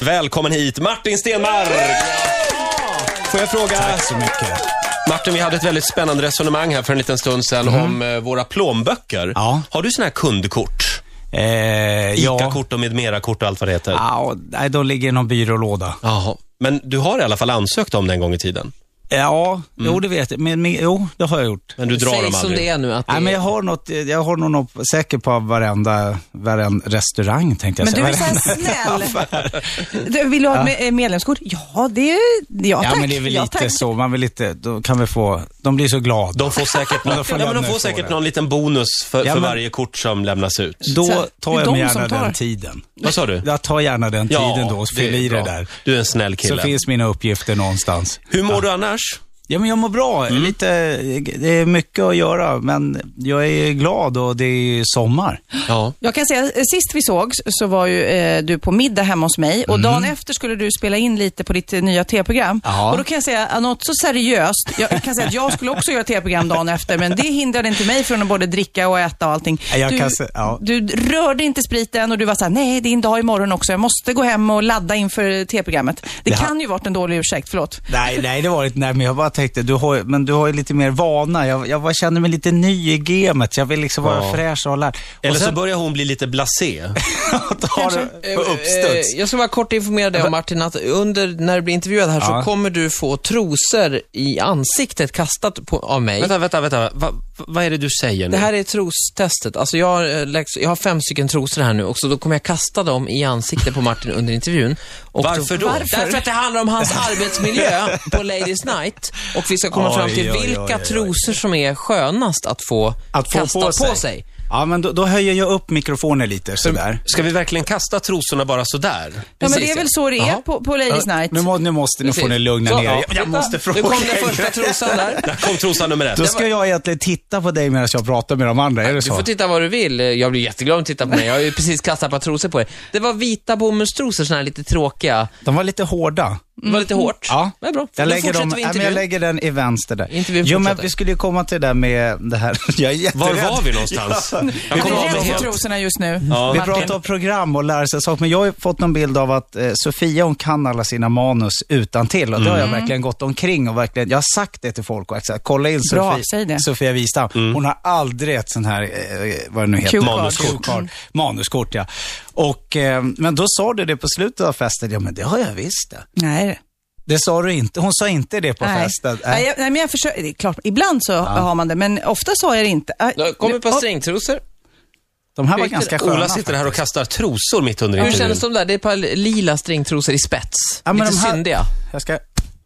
välkommen hit Martin Stenmark! Får jag fråga, så mycket. Martin vi hade ett väldigt spännande resonemang här för en liten stund sedan om eh, våra plånböcker. Ja. Har du såna här kundkort? Eh, ja. ICA-kort och med mera-kort och allt vad det heter. Ja, och- nej, de ligger i någon byrålåda. Jaha. Men du har i alla fall ansökt om det en gång i tiden. Ja, jo det vet jag. Men, men, jo, det har jag gjort. Men du drar Säg dem som aldrig. det är nu att det Nej, men jag är... har något, jag har nog något säkert på varenda, varenda restaurang tänkte jag Men du är säga. så här snäll. Du, vill du ha ett me- eh, medlemskort? Ja, det är... Ja, Ja, tack. men det är väl ja, lite tack. så. Man vill lite, då kan vi få, de blir så glada. De får säkert, Men någon, då ja, får men de lämna får ifrån säkert det. någon liten bonus för, Ja, för men- varje kort som lämnas ut. Då tar det är jag de mig som gärna tar. den tiden. Vad sa du? Jag tar gärna den tiden då och fyller är i det bra. där. Du är en snäll Så kille. finns mina uppgifter någonstans. Mm. Hur mår du annars? Ja, men jag mår bra. Lite, det är mycket att göra, men jag är glad och det är sommar. Ja. Jag kan säga, eh, sist vi sågs så var ju eh, du på middag hemma hos mig Mhm. och dagen efter skulle du spela in lite på ditt eh, nya tv-program. Ja. Och då kan jag säga, eh, något så seriöst, jag kan säga att jag skulle också göra tv-program dagen efter, men det hindrade inte mig från att både dricka och äta och allting. Nej, jag du, kan se- ja. du rörde inte spriten och du var såhär, nej det är en dag imorgon också, jag måste gå hem och ladda inför tv-programmet. Det Det har- kan ju varit en dålig ursäkt, förlåt. Nej, nej, det var inte. Nej, men jag bara tänkte, du har, ju- men du har ju lite mer vana. Jag, jag var, känner mig lite ny i gamet. Jag vill liksom vara Ja. fräsch och lärd. Eller så börjar hon bli lite blasé. tar det på Eh, uppstuds. eh, Jag ska bara kort informera dig om Martin att under, när du blir intervjuad här Ja. så kommer du få trosor i ansiktet kastat på, av mig. vänta, vänta, vänta. Va, va, vad är det du säger nu? Det här är trostestet. Alltså jag, har, eh, läx- jag har fem stycken trosor här nu och så då kommer jag kasta dem i ansiktet på Martin under intervjun. Och Varför då? Varför? Därför att det handlar om hans arbetsmiljö på Ladies Night. Och vi ska komma Oj, fram till oj, oj, vilka oj, oj. trosor som är skönast att få, Att få kasta på sig. Ja, men då, då höjer jag upp mikrofonen lite sådär. Ska vi verkligen kasta trosorna bara sådär? Ja, men Precis, det är väl ja. så det är Jaha. på, på Ladies Night. Nu, må, nu måste nu får ni lugna Så, ner ja. er. Jag, jag måste fråga. Nu kom den första trosan där. Där kom trosa nummer ett. Då ska jag egentligen titta på dig medan jag pratar med de andra, är det Du får så? titta vad du vill. Jag blir jätteglad om du tittar på mig. Jag har ju precis kastat ett par trosor på er. Det var vita bomullstrosor, såna här lite tråkiga. De var lite hårda. Det var lite hårt. Ja, Men bra. Jag Då lägger, fortsätter dem, nej, vi men jag intervjun. lägger den i vänster där. Intervjun jo, men fortsätter. vi skulle ju komma till det där med det här. Jag är Var jätterädd. var vi någonstans? Jag Jag kommer är av mig rädd för helt. trosorna just nu, Ja. Vi Martin. pratar om program och lära sig saker, men jag har ju fått någon bild av att eh, Sofia hon kan alla sina manus utan till och det har jag verkligen gått omkring och verkligen, jag har sagt det till folk och sagt, kolla in Bra, säg Sofie, det. Sofia Wistam. Hon har aldrig ett sån här, eh, vad det nu heter, Cue card. Manuskort. Manuskort, Manuskort ja. Och, eh, men då sa du det på slutet av festen, ja men det har jag visst det. Nej. Det sa du inte, hon sa inte det på Nej. festen. Nej, jag, nej, men jag försöker. Det är klart, ibland så har man det, men ofta så har jag det inte. Äh, Då kommer nu- ett par åh, stringtrosor. De här var ganska sköna. Ola sitter här och kastar trosor mitt under Hur intervjun. kändes de där? Det är ett par lila stringtrosor i spets. Ja, men lite de här- syndiga. Jag ska...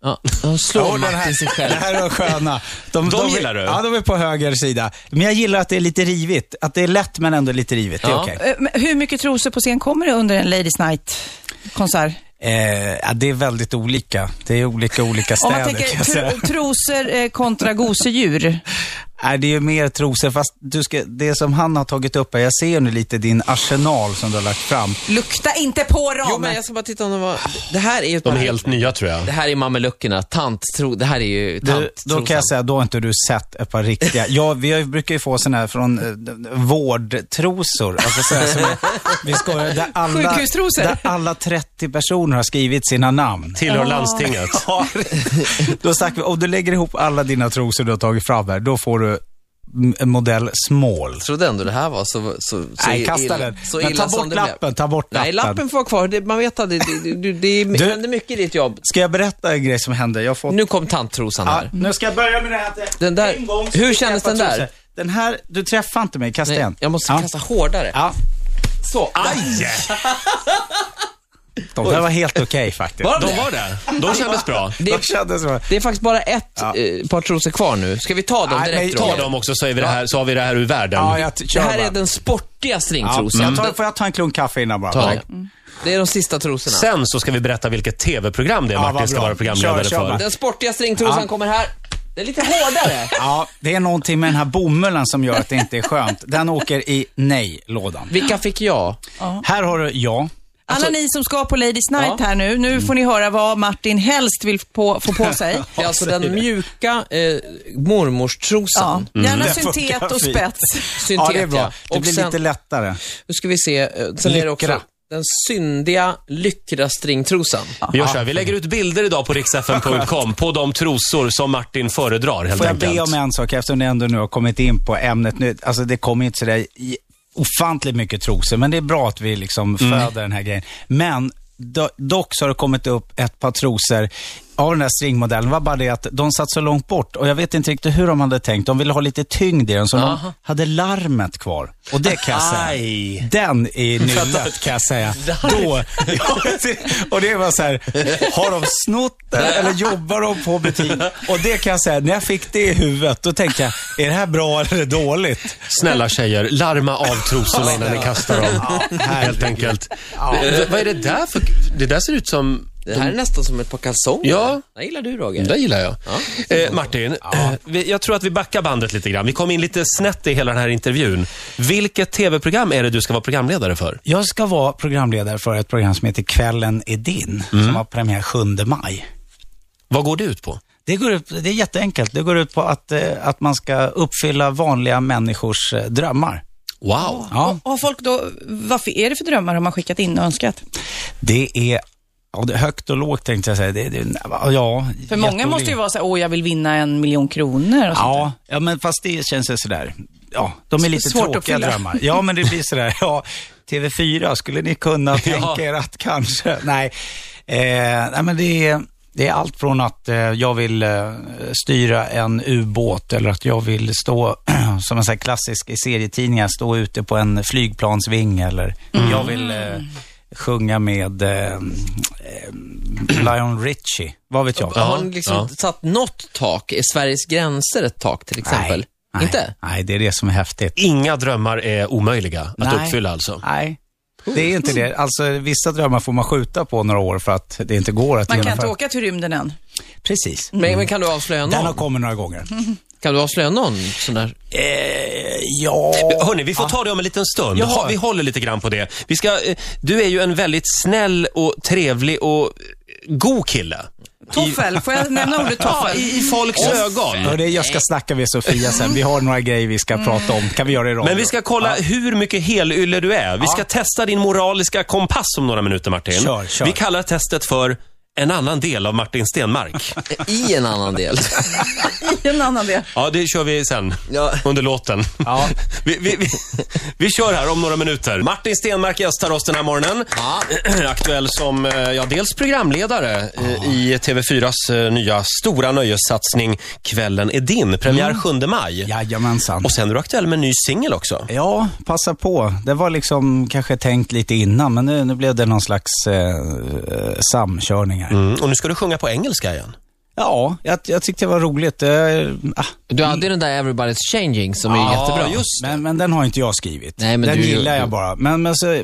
Ja, de slår Jo, den Martin här, sig det själv. här var sköna. De är- gillar du? Ja, de är på höger sida. Men jag gillar att det är lite rivigt. Att det är lätt men ändå lite rivigt. Det är Ja. okej. eh, men Hur mycket trosor på scen kommer det under en Ladies Night-konsert? Eh, ja, det är väldigt olika. Det är olika olika Om städer man tänker kan jag säga. tro, trosor eh, kontra gosedjur. Nej, det är ju mer trosor. Fast du ska, det som han har tagit upp här, jag ser ju nu lite din arsenal som du har lagt fram. Lukta inte på dem! Jo, men jag ska bara titta om de var... Det här är ju ett De par... är helt nya tror jag. Det här är mameluckerna. Tanttro... Det här är ju Du, tanttrosan. då kan jag säga, då har inte du sett ett par riktiga. Ja, vi har, ju- brukar ju få sådana här från eh, vårdtrosor. Alltså så här, som är, vi ska, där alla, Sjukhustrosor. där alla 30 personer har skrivit sina namn. Tillhör landstinget. Ja, då stack vi. Om du lägger ihop alla dina trosor du har tagit fram här, då får du m- en modell small. Jag trodde ändå det här var så... så, så Nej, kasta illa, den. Så Men illa ta som bort det blev. lappen, ta bort Nej, lappen. lappen får vara kvar. Det, man vet att det, det, det, det, det Du- händer mycket i ditt jobb. Ska jag berätta en grej som hände? Jag har fått... Nu kom tanttrosan Ja, här. nu ska jag börja med det här. att Den där- en gång så hur fick jag kändes ett par den där? trosor. Den här, du träffade inte mig, kasta Nej, igen. jag måste ja. kasta hårdare. Ja, Så. Aj! de där var helt okej faktiskt. Var De det? var det. De kändes bra. Det, De kändes bra. det är faktiskt bara ett eh, par trosor kvar nu. Ska vi ta dem Nej, direkt? men- Roger? Ta dem också så, är vi det här, så har vi det här ur Ja, världen. jag t- Det kör här bara. är den sportiga ja, stringtrosan. jag tar, Får jag ta en klunk kaffe innan bara? Ja. Tack. Det är de sista trosorna. Sen så ska vi berätta vilket tv-program det är Ja, vad Martin ska bra. vara programledare Kör, kör bara. för. Den sportiga stringtrosan Ja. kommer här. Den är lite hårdare. Ja, det är någonting med den här bomullen som gör att det inte är skönt. Den åker i nej-lådan. Vilka fick jag? Här har du ja. Alla ni som ska på Ladies Night Ja. här nu, nu får ni höra vad Martin helst vill på, få på sig. Det är alltså den mjuka eh, mormorstrosan. Ja, gärna Den funkar syntet och fint. spets. Syntet, ja, det är bra. Det Och blir sen, lite lättare. nu ska vi se, eh, sen är det också Lyckra. Den syndiga lyckrastringtrosan. Vi gör så här, vi lägger ut bilder idag på riksfn.com på de trosor som Martin föredrar helt Får jag enkelt. be om en sak eftersom ni ändå nu har kommit in på ämnet nu. Alltså det kommer ju inte sådär i- ofantligt mycket trosor, men det är bra att vi liksom Mm. föder den här grejen. Men do, dock så har det kommit upp ett par trosor av den här stringmodellen. Det var bara det att de satt så långt bort och jag vet inte riktigt hur de hade tänkt. De ville ha lite tyngd i den, så de hade larmet kvar. Och det kan jag säga. Aj. Den är nyllet kan jag säga. Då, Ja, det- och det var så här, har de snott den eller jobbar de på butik? Och det kan jag säga, när jag fick det i huvudet, då tänkte jag, är det här bra eller dåligt? Snälla tjejer, larma av trosorna innan ni kastar dem. Helt enkelt. V- Vad är det där för... Det där ser ut som... Det här är nästan som ett par kalsonger. Ja. Det gillar du Det Roger. där gillar jag. eh, Martin, eh, vi- jag tror att vi backar bandet lite grann. Vi kom in lite snett i hela den här intervjun. Vilket tv-program är det du ska vara programledare för? Jag ska vara programledare för ett program som heter Kvällen är din, som har premiär 7 maj. Vad går det ut på? Det, går ut, det är jätteenkelt. Det går ut på att, eh, att man ska uppfylla vanliga människors eh, drömmar. Wow. Ja. Och har folk då, vad är det för drömmar de har skickat in och önskat? Det är ja, det är högt och lågt tänkte jag säga. Det, det, ja, För många måste ju vara så här, åh jag vill vinna en miljon kronor och sånt där. Ja, ja, men fast det känns ju sådär. Ja, de är lite Svårt att tråkiga fylla. drömmar. Ja, men det blir sådär. Ja, TV4, skulle ni kunna tänka er att kanske? Nej, eh, nej men det är, det är allt från att eh, jag vill eh, styra en ubåt eller att jag vill stå, som man säger klassisk i serietidningar, stå ute på en flygplansving eller Mm. jag vill eh, sjunga med eh, eh, Lion Richie, vad vet jag? Har ni liksom Ja. satt något tak? Är Sveriges gränser ett tak till exempel? Nej, nej, Inte? Nej, det är det som är häftigt. Inga drömmar är omöjliga att Nej. uppfylla alltså. Nej, det är inte det. Alltså, vissa drömmar får man skjuta på några år för att det inte går att Man kan genomföra. inte åka till rymden än. Precis. Men, men kan du avslöja Den någon? har kommit några gånger. Kan du avslöja någon sån där? Eh, ja... Hörni, vi får ta det om en liten stund. Jaha. Ha- Vi håller lite grann på det. Vi ska, eh, du är ju en väldigt snäll och trevlig och eh, god kille. Toffel, får jag nämna ordet toffel? I, i folks ögon. Hörde, jag ska snacka med Sofia sen. Vi har några grejer vi ska prata om. Kan vi göra det i radio? Men vi ska kolla hur mycket helylle du är. Vi ska testa din moraliska kompass om några minuter, Martin. Kör, kör. Vi kallar testet för en annan del av Martin Stenmark. I en annan del? I en annan del. Ja, det kör vi sen Ja. under låten. Ja. Vi, vi, vi, vi kör här om några minuter. Martin Stenmark gästar oss den här morgonen. Aktuell som, eh, ja, dels programledare eh, i TV4s eh, nya stora nöjessatsning Kvällen är din. Premiär Mm. 7 maj. Jajamensan. Och sen är du aktuell med en ny singel också. Ja, passa på. Det var liksom kanske tänkt lite innan, men nu, nu blev det någon slags eh, eh, samkörning här. Mm. Och nu ska du sjunga på engelska igen. Ja, jag, jag tyckte det var roligt. Eh, ah, Du hade ju den där Everybody's Changing som är jättebra. men, men den har inte jag skrivit. Nej, men den du- gillar jag bara. Men, men så,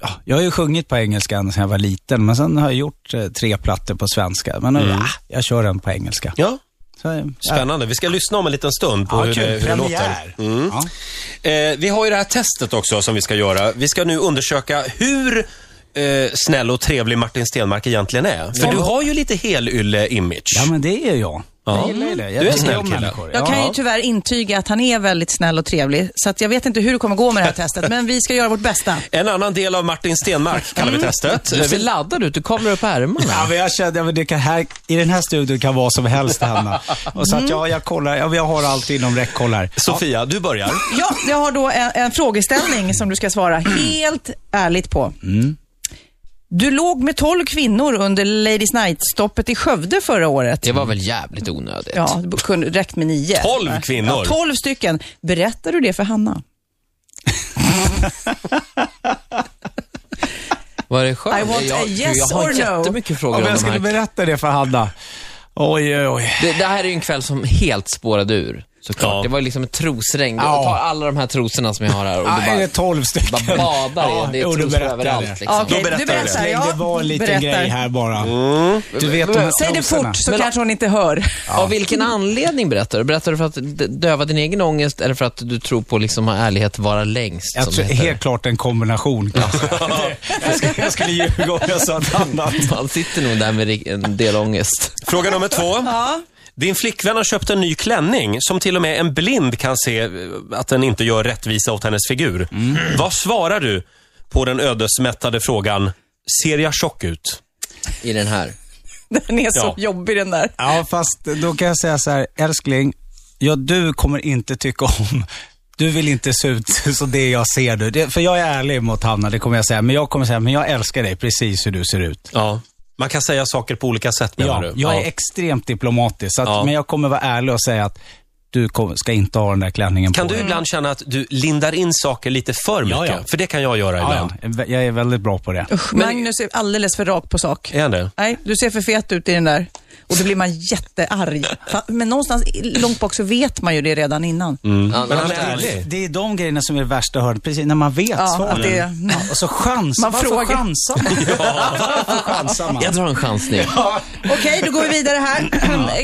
ja, jag har ju sjungit på engelska ända sedan jag var liten, men sen har jag gjort eh, tre plattor på svenska. Men mm. ja, jag kör den på engelska. Ja. Så, äh, ja. Spännande. Vi ska lyssna om en liten stund på Ja, hur, kul. det, hur det låter. Mm. Premiär. Ja. Eh, vi har ju det här testet också som vi ska göra. Vi ska nu undersöka hur eh, snäll och trevlig Martin Stenmark egentligen är. För du har ju lite helylle-image. ja, men det är jag. Ja. Jag gillar ju det. Jag Du är tycker snäll om kille. människor. Jag kan ju tyvärr intyga att han är väldigt snäll och trevlig, så att jag vet inte hur det kommer gå med det här testet, men vi ska göra vårt bästa. En annan del av Martin Stenmark kallar vi Mm. testet. Du Eh, ser vi- laddad ut, du kommer upp på ärmarna. Ja, men jag kände att det kan, här, i den här studion kan vad som helst hända. Och så att jag, jag kollar, ja, men jag har allt inom räckhåll här. Sofia, du börjar. Ja, jag har då en, en frågeställning som du ska svara helt ärligt på. Mm. Du låg med 12 kvinnor under Ladies Night-stoppet i Skövde förra året. Det var väl jävligt onödigt. Ja, det kunde räckt med nio. 12 kvinnor. Ja, 12 stycken. Berättar du det för Hanna? Var det skönt? I want jag, a yes jag har or no. jättemycket frågor Om om jag de skulle här. berätta det för Hanna. Oj, oj, oj. Det, det här är ju en kväll som helt spårade ur, såklart. Ja. Det var ju liksom ett trosregn. Ja. Jag tar alla de här trosorna som jag har här och Ja, det är bara, det 12 stycken? bara badar i Ja, dem. Det är jo, då trosor berättar jag överallt det. liksom. Okej, berättar du du det. berättar, Släng, ja. det var en liten Berättar. grej här bara. Du vet de här Säg det trosorna. fort så Men- kanske hon inte hör. Av vilken anledning berättar du? Berättar du för att d- döva din egen ångest eller för att du tror på liksom att ärlighet vara längst? Jag som tror det heter? helt klart en kombination. kan jag säga. jag, skulle, jag skulle ljuga om jag sa något annat. Man sitter nog där med ri- en del ångest. Fråga nummer två. Din flickvän har köpt en ny klänning som till och med en blind kan se eh, att den inte gör rättvisa åt hennes figur. Vad svarar du på den ödesmättade frågan, ser jag tjock ut? i den här. Den är så Ja. jobbig den där. Ja, fast då kan jag säga så här, älskling, ja du kommer inte tycka om, du vill inte se ut så det jag ser du. Det, för jag är ärlig mot Hanna, det kommer jag säga, men jag kommer säga, men jag älskar dig precis hur du ser ut. Ja. Man kan säga saker på olika sätt menar Ja, du? jag är extremt diplomatisk, så att, Ja. men jag kommer vara ärlig och säga att du kom, ska inte ha den där klänningen Kan på du dig. ibland känna att du lindar in saker lite för mycket? Ja, ja. För det kan jag göra ibland. Ja, ja, jag är väldigt bra på det. Usch, Magnus är alldeles för rak på sak. Är han det? Nej, du ser för fet ut i den där. Och då blir man jättearg. Fa- Men någonstans i- långt bak så vet man ju det redan innan. Ja, Men han men- är ärlig. Det är de grejerna som är det värsta jag hörde, precis när man vet Ja, svaren. att det är- ja, och så chans, Man varför frågar. chansar man? Varför chansar man? Jag drar en chansning. Okej, då går vi vidare här.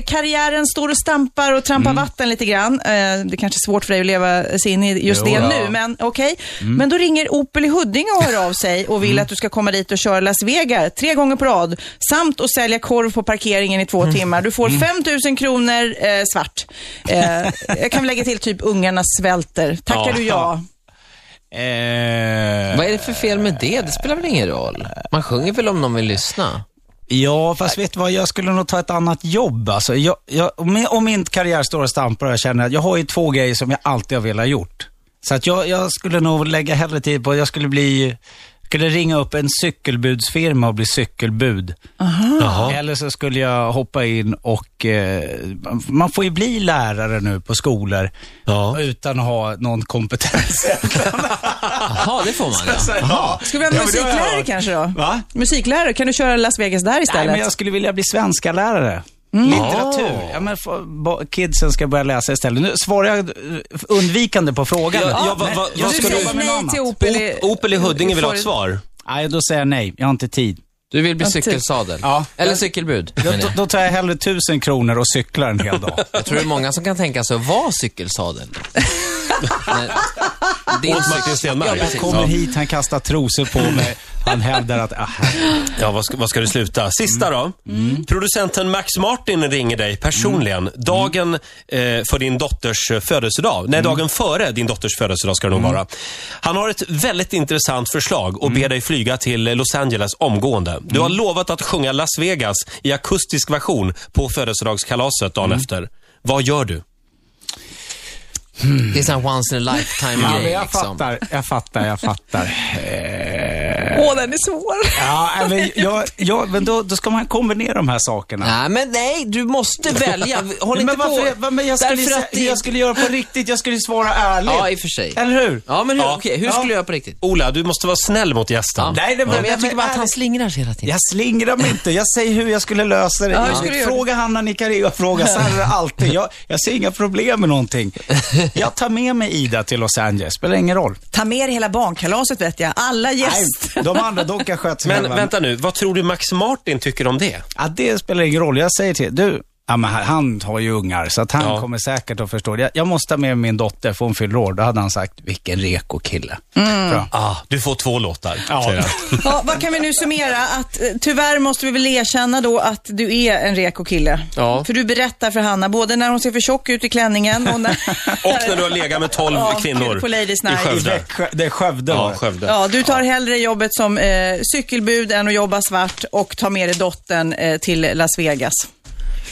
Karriären står och stampar och trampar Mm. vatten lite grann. Eh, Det är kanske är svårt för dig att leva sig in i just Jo, Mm. det ja. nu, men okej. Men då ringer Opel i Huddinge och hör av sig och Mm. vill att du ska komma dit och köra Las Vegas tre gånger på rad samt att sälja korv på parkeringen i två Mm. timmar. Du får 5 000 kronor eh, svart. Eh, jag kan väl lägga till typ ungarna svälter. Tackar Ja. du ja? Eh, Vad är det för fel med det? Det spelar väl ingen roll? Man sjunger väl om någon vill lyssna? Ja, fast vet du vad, jag skulle nog ta ett annat jobb alltså. jag, jag, om, min, om min karriär står och stampar och jag känner att jag har ju två grejer som jag alltid har velat gjort. Så att jag, jag skulle nog lägga hellre tid på, jag skulle bli, skulle ringa upp en cykelbudsfirma och bli cykelbud. Jaha. Eller så skulle jag hoppa in och, eh, man får ju bli lärare nu på skolor Ja. utan att ha någon kompetens. Jaha, det får man ja. Så, ja. Ska vi ha en Ja, men det har jag musiklärare hört. kanske då? Va? Musiklärare, kan du köra Las Vegas där istället? Nej, men jag skulle vilja bli svenska lärare. Litteratur. Ja, men få- bo- kidsen ska börja läsa istället. Nu svarar jag eh, undvikande på frågan. Ja, eller? ja, vad- Nej, vad- jag vad Du ska skulle du- säger jobba med nej något till annat. Opel i, Opel i Huddinge vill ha ett får- svar. Nej, då säger jag nej. Jag har inte tid. Du vill bli typ. cykelsadel? Ja. Eller cykelbud? Då, menar då, jag. då tar jag hellre tusen kronor och cyklar en hel dag. jag tror det är många som kan tänka sig att vara cykelsadel. Men Din Åt cykel... Martin Stenmarck. Ja, precis. Kommer hit, han kastar trosor på mig. Han hävdar att, ah, herregud. Ja, vad ska, vad ska det sluta? Sista då. Producenten Max Martin ringer dig personligen dagen eh, för din dotters eh, födelsedag. Nej, dagen före din dotters födelsedag ska det nog vara. Han har ett väldigt intressant förslag och ber dig flyga till eh, Los Angeles omgående. Du har lovat att sjunga Las Vegas i akustisk version på födelsedagskalaset dagen efter. Vad gör du? Det är sån här once in a lifetime ja, men grej jag liksom. fattar, jag fattar, jag fattar. Åh, den är svår. Ja, nej, men, jag, jag, men då, då ska man kombinera de här sakerna. Nej, men nej, du måste välja. Håll men inte varför, på. vad- men jag skulle, Därför säga- att det- jag skulle göra på riktigt, jag skulle svara ärligt. Ja, i och för sig. Eller hur? Ja, men hur, Ja. okej, hur Ja. skulle du göra på riktigt? Ola, du måste vara snäll mot gästen. Ja. Nej, det- men, men- jag tycker bara att men- han slingrar sig hela tiden. Jag slingrar mig inte, jag säger hur jag skulle lösa det. Ja, hur skulle du göra? Fråga Hanna Nicaragua, fråga Sarah alltid. Jag, jag ser inga problem med någonting. Jag tar med mig Ida till Los Angeles, spelar ingen roll. Ta med dig hela barnkalaset vet jag. Alla gäster. Nej, de andra, de kan sköta sig Men själva. vänta nu, vad tror du Max Martin tycker om det? Ja, det spelar ingen roll, jag säger till du, ja, men han- han har ju ungar, så att han Ja. kommer säkert att förstå. det. Jag, jag måste ta med min dotter, för hon fyller år. Då hade han sagt, vilken reko kille. Mm. Bra. Ah, du får två låtar, säger han. Ja, vad kan vi nu summera? Att, eh, tyvärr måste vi väl erkänna då att du är en reko kille. Ja. För du berättar för Hanna, både när hon ser för tjock ut i klänningen och när... Och när du har legat med tolv Ja, kvinnor på Ladies i Night. I Skövde. Växjö, det är Skövde var Ja, det. Skövde. Ja, du tar hellre jobbet som eh, cykelbud än att jobba svart och tar med dig dottern eh, till Las Vegas.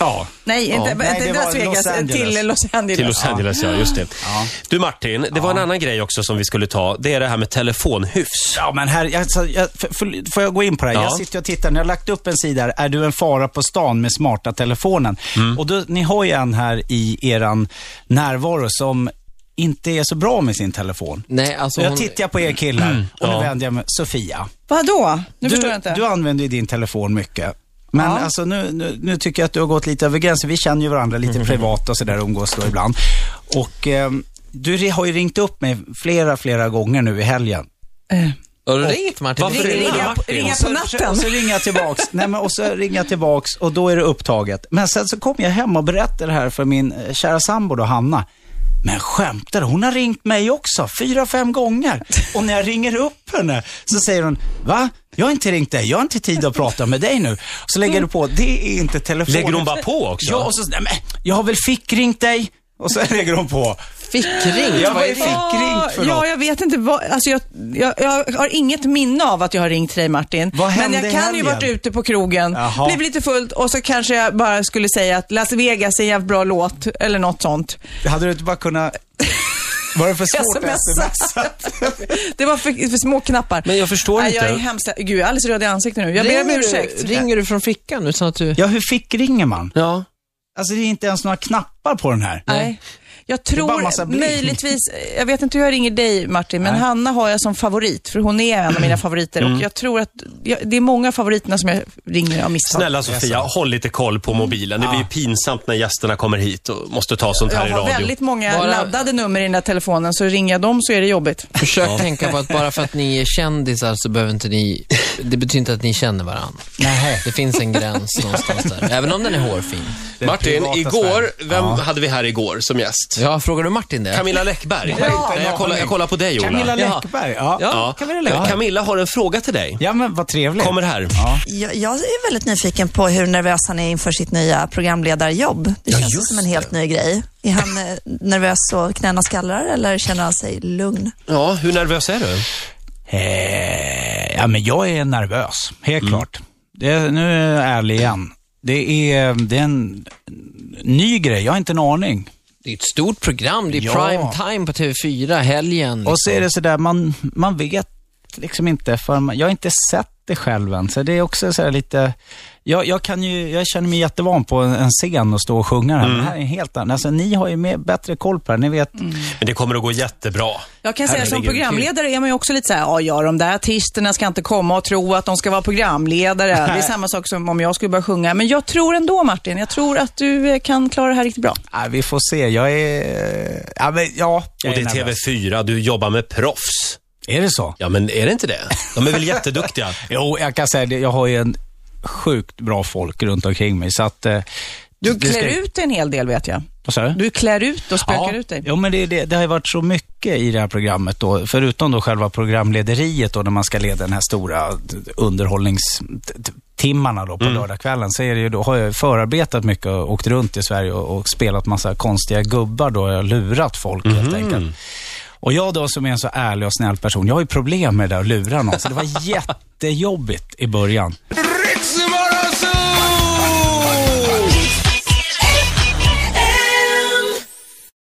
Ja. Nej, inte, Nej, inte det var Las Vegas, Los eh, Angeles. till Los Angeles. Till Los Angeles, ja. Just det. Du Martin, det var en annan grej också som vi skulle ta. Det är det här med telefonhyfs. Ja, men här, jag, alltså, jag, för, för, får jag gå in på det här? Ja. Jag sitter och tittar, ni har lagt upp en sida här, är du en fara på stan med smarta telefonen? Mm. Och då, ni har ju en här i eran närvaro som inte är så bra med sin telefon. Nej, alltså Så jag hon- Mm. tittar på er killar och nu Ja. vänder jag mig, Sofia. Vadå? Nu du, förstår jag inte. Du använder ju din telefon mycket. Men alltså nu, nu, nu tycker jag att du har gått lite över gränsen. Vi känner ju varandra Mm. lite privat och sådär, umgås då ibland. Och ehm, du re- har ju ringt upp mig flera, flera gånger nu i helgen. Eh, Har du ringt Martin? Varför Ring- ringer du ringa, Martin? ringa Och på så, natten. Och så ringer jag tillbaks. Nej, men, och så ringer jag tillbaks och då är det upptaget. Men sen så kommer jag hem och berättar det här för min eh, kära sambo då, Hanna. Men skämtar du? Hon har ringt mig också, fyra, fem gånger. Och när jag ringer upp henne så säger hon, va? Jag har inte ringt dig, jag har inte tid att prata med dig nu. Så lägger du på, det är inte telefonen. Lägger hon bara på också? Ja, och så, nej, men, jag har väl fickringt dig? Och sen lägger hon på. Fickring? Ja, vad är vad det? är ringt för Ja, något? jag vet inte vad, alltså jag, jag, jag har inget minne av att jag har ringt till dig Martin. Vad men hände jag i kan ju helgen? varit ute på krogen, Jaha. blev lite fullt och så kanske jag bara skulle säga att Las Vegas är en jävligt bra låt eller något sånt. Hade du inte bara kunnat... Var det för svårt att Smsa. det var för, för små knappar. Men jag förstår Nej, inte. jag är hemskt... Gud, jag är alldeles röd i ansiktet nu. Jag ber om Ringer du- ursäkt. Ringer du från fickan utan att du... Ja, hur fick ringer man? Ja. Alltså det är inte ens några knappar på den här. Nej. Jag bara en massa tror blink. möjligtvis, jag vet inte hur jag ringer dig Martin, men Hanna har jag som favorit, för hon är en av mina favoriter Mm. och jag tror att, jag, det är många av favoriterna som jag ringer av misstag. Snälla Sofia, håll lite koll på mobilen. Det blir ju pinsamt när gästerna kommer hit och måste ta sånt Jag här i har radio. väldigt många Bara- laddade nummer i den här telefonen, så ringer jag dem så är det jobbigt. Försök tänka på att bara för att ni är kändisar så behöver inte ni... Det betyder inte att ni känner varandra. Nej. Det finns en gräns någonstans där. Även om den är hårfin. Martin, privata igår, sfären. vem hade vi här igår som gäst? Ja, frågar du Martin det? Camilla Läckberg. Nej, jag, kollar, jag kollar på dig, Ola. Camilla Ja. Läckberg, ja. Ja. Camilla Läckberg. Camilla har en fråga till dig. Ja, men vad trevligt. Kommer här. Jag, jag är väldigt nyfiken på hur nervös han är inför sitt nya programledarjobb. Det känns ju som en helt ny grej. Är han eh, nervös så knäna skallrar eller känner han sig lugn? Ja, hur nervös är du? Eh, ja, men jag är nervös, helt Mm. klart. Det, nu är jag ärlig igen. Det är, det är en ny grej, jag har inte en Mm. aning. Det är ett stort program. Det är Ja. prime time på TV4, helgen. Och så är det sådär, man, man vet liksom inte, för man, jag har inte sett det själv än. Så det är också sådär lite, jag, jag, kan ju, jag känner mig jättevan på en, en scen och stå och sjunga här. Mm. Men det här är en helt annan, alltså ni har ju mer, bättre koll på det här. Ni vet, Men det kommer att gå jättebra. Jag kan säga som Herregud. programledare är man ju också lite så här, ja, ja, de där artisterna ska inte komma och tro att de ska vara programledare. Det är samma sak som om jag skulle börja sjunga. Men jag tror ändå Martin, jag tror att du eh, kan klara det här riktigt bra. nej, vi får se, jag är, ja men ja. jag Och det är nervös. TV4, du jobbar med proffs. Är det så? Ja, men är det inte det? De är väl jätteduktiga? Jo, jag kan säga det. Jag har ju en sjukt bra folk runt omkring mig. Så att, eh, Du det klär ska- ut dig en hel del vet jag. Vad sa du? Du klär ut och spökar ut dig. Jo, men det, är det, det har ju varit så mycket i det här programmet då, förutom då själva programlederiet då när man ska leda den här stora d- d- underhållningstimmarna då på lördagskvällen så är det ju då, har jag förarbetat mycket och åkt runt i Sverige och, och spelat massa konstiga gubbar då, jag har lurat folk helt enkelt. Och jag då som är en så ärlig och snäll person, jag har ju problem med det där att lura någon, så det var jättejobbigt i början.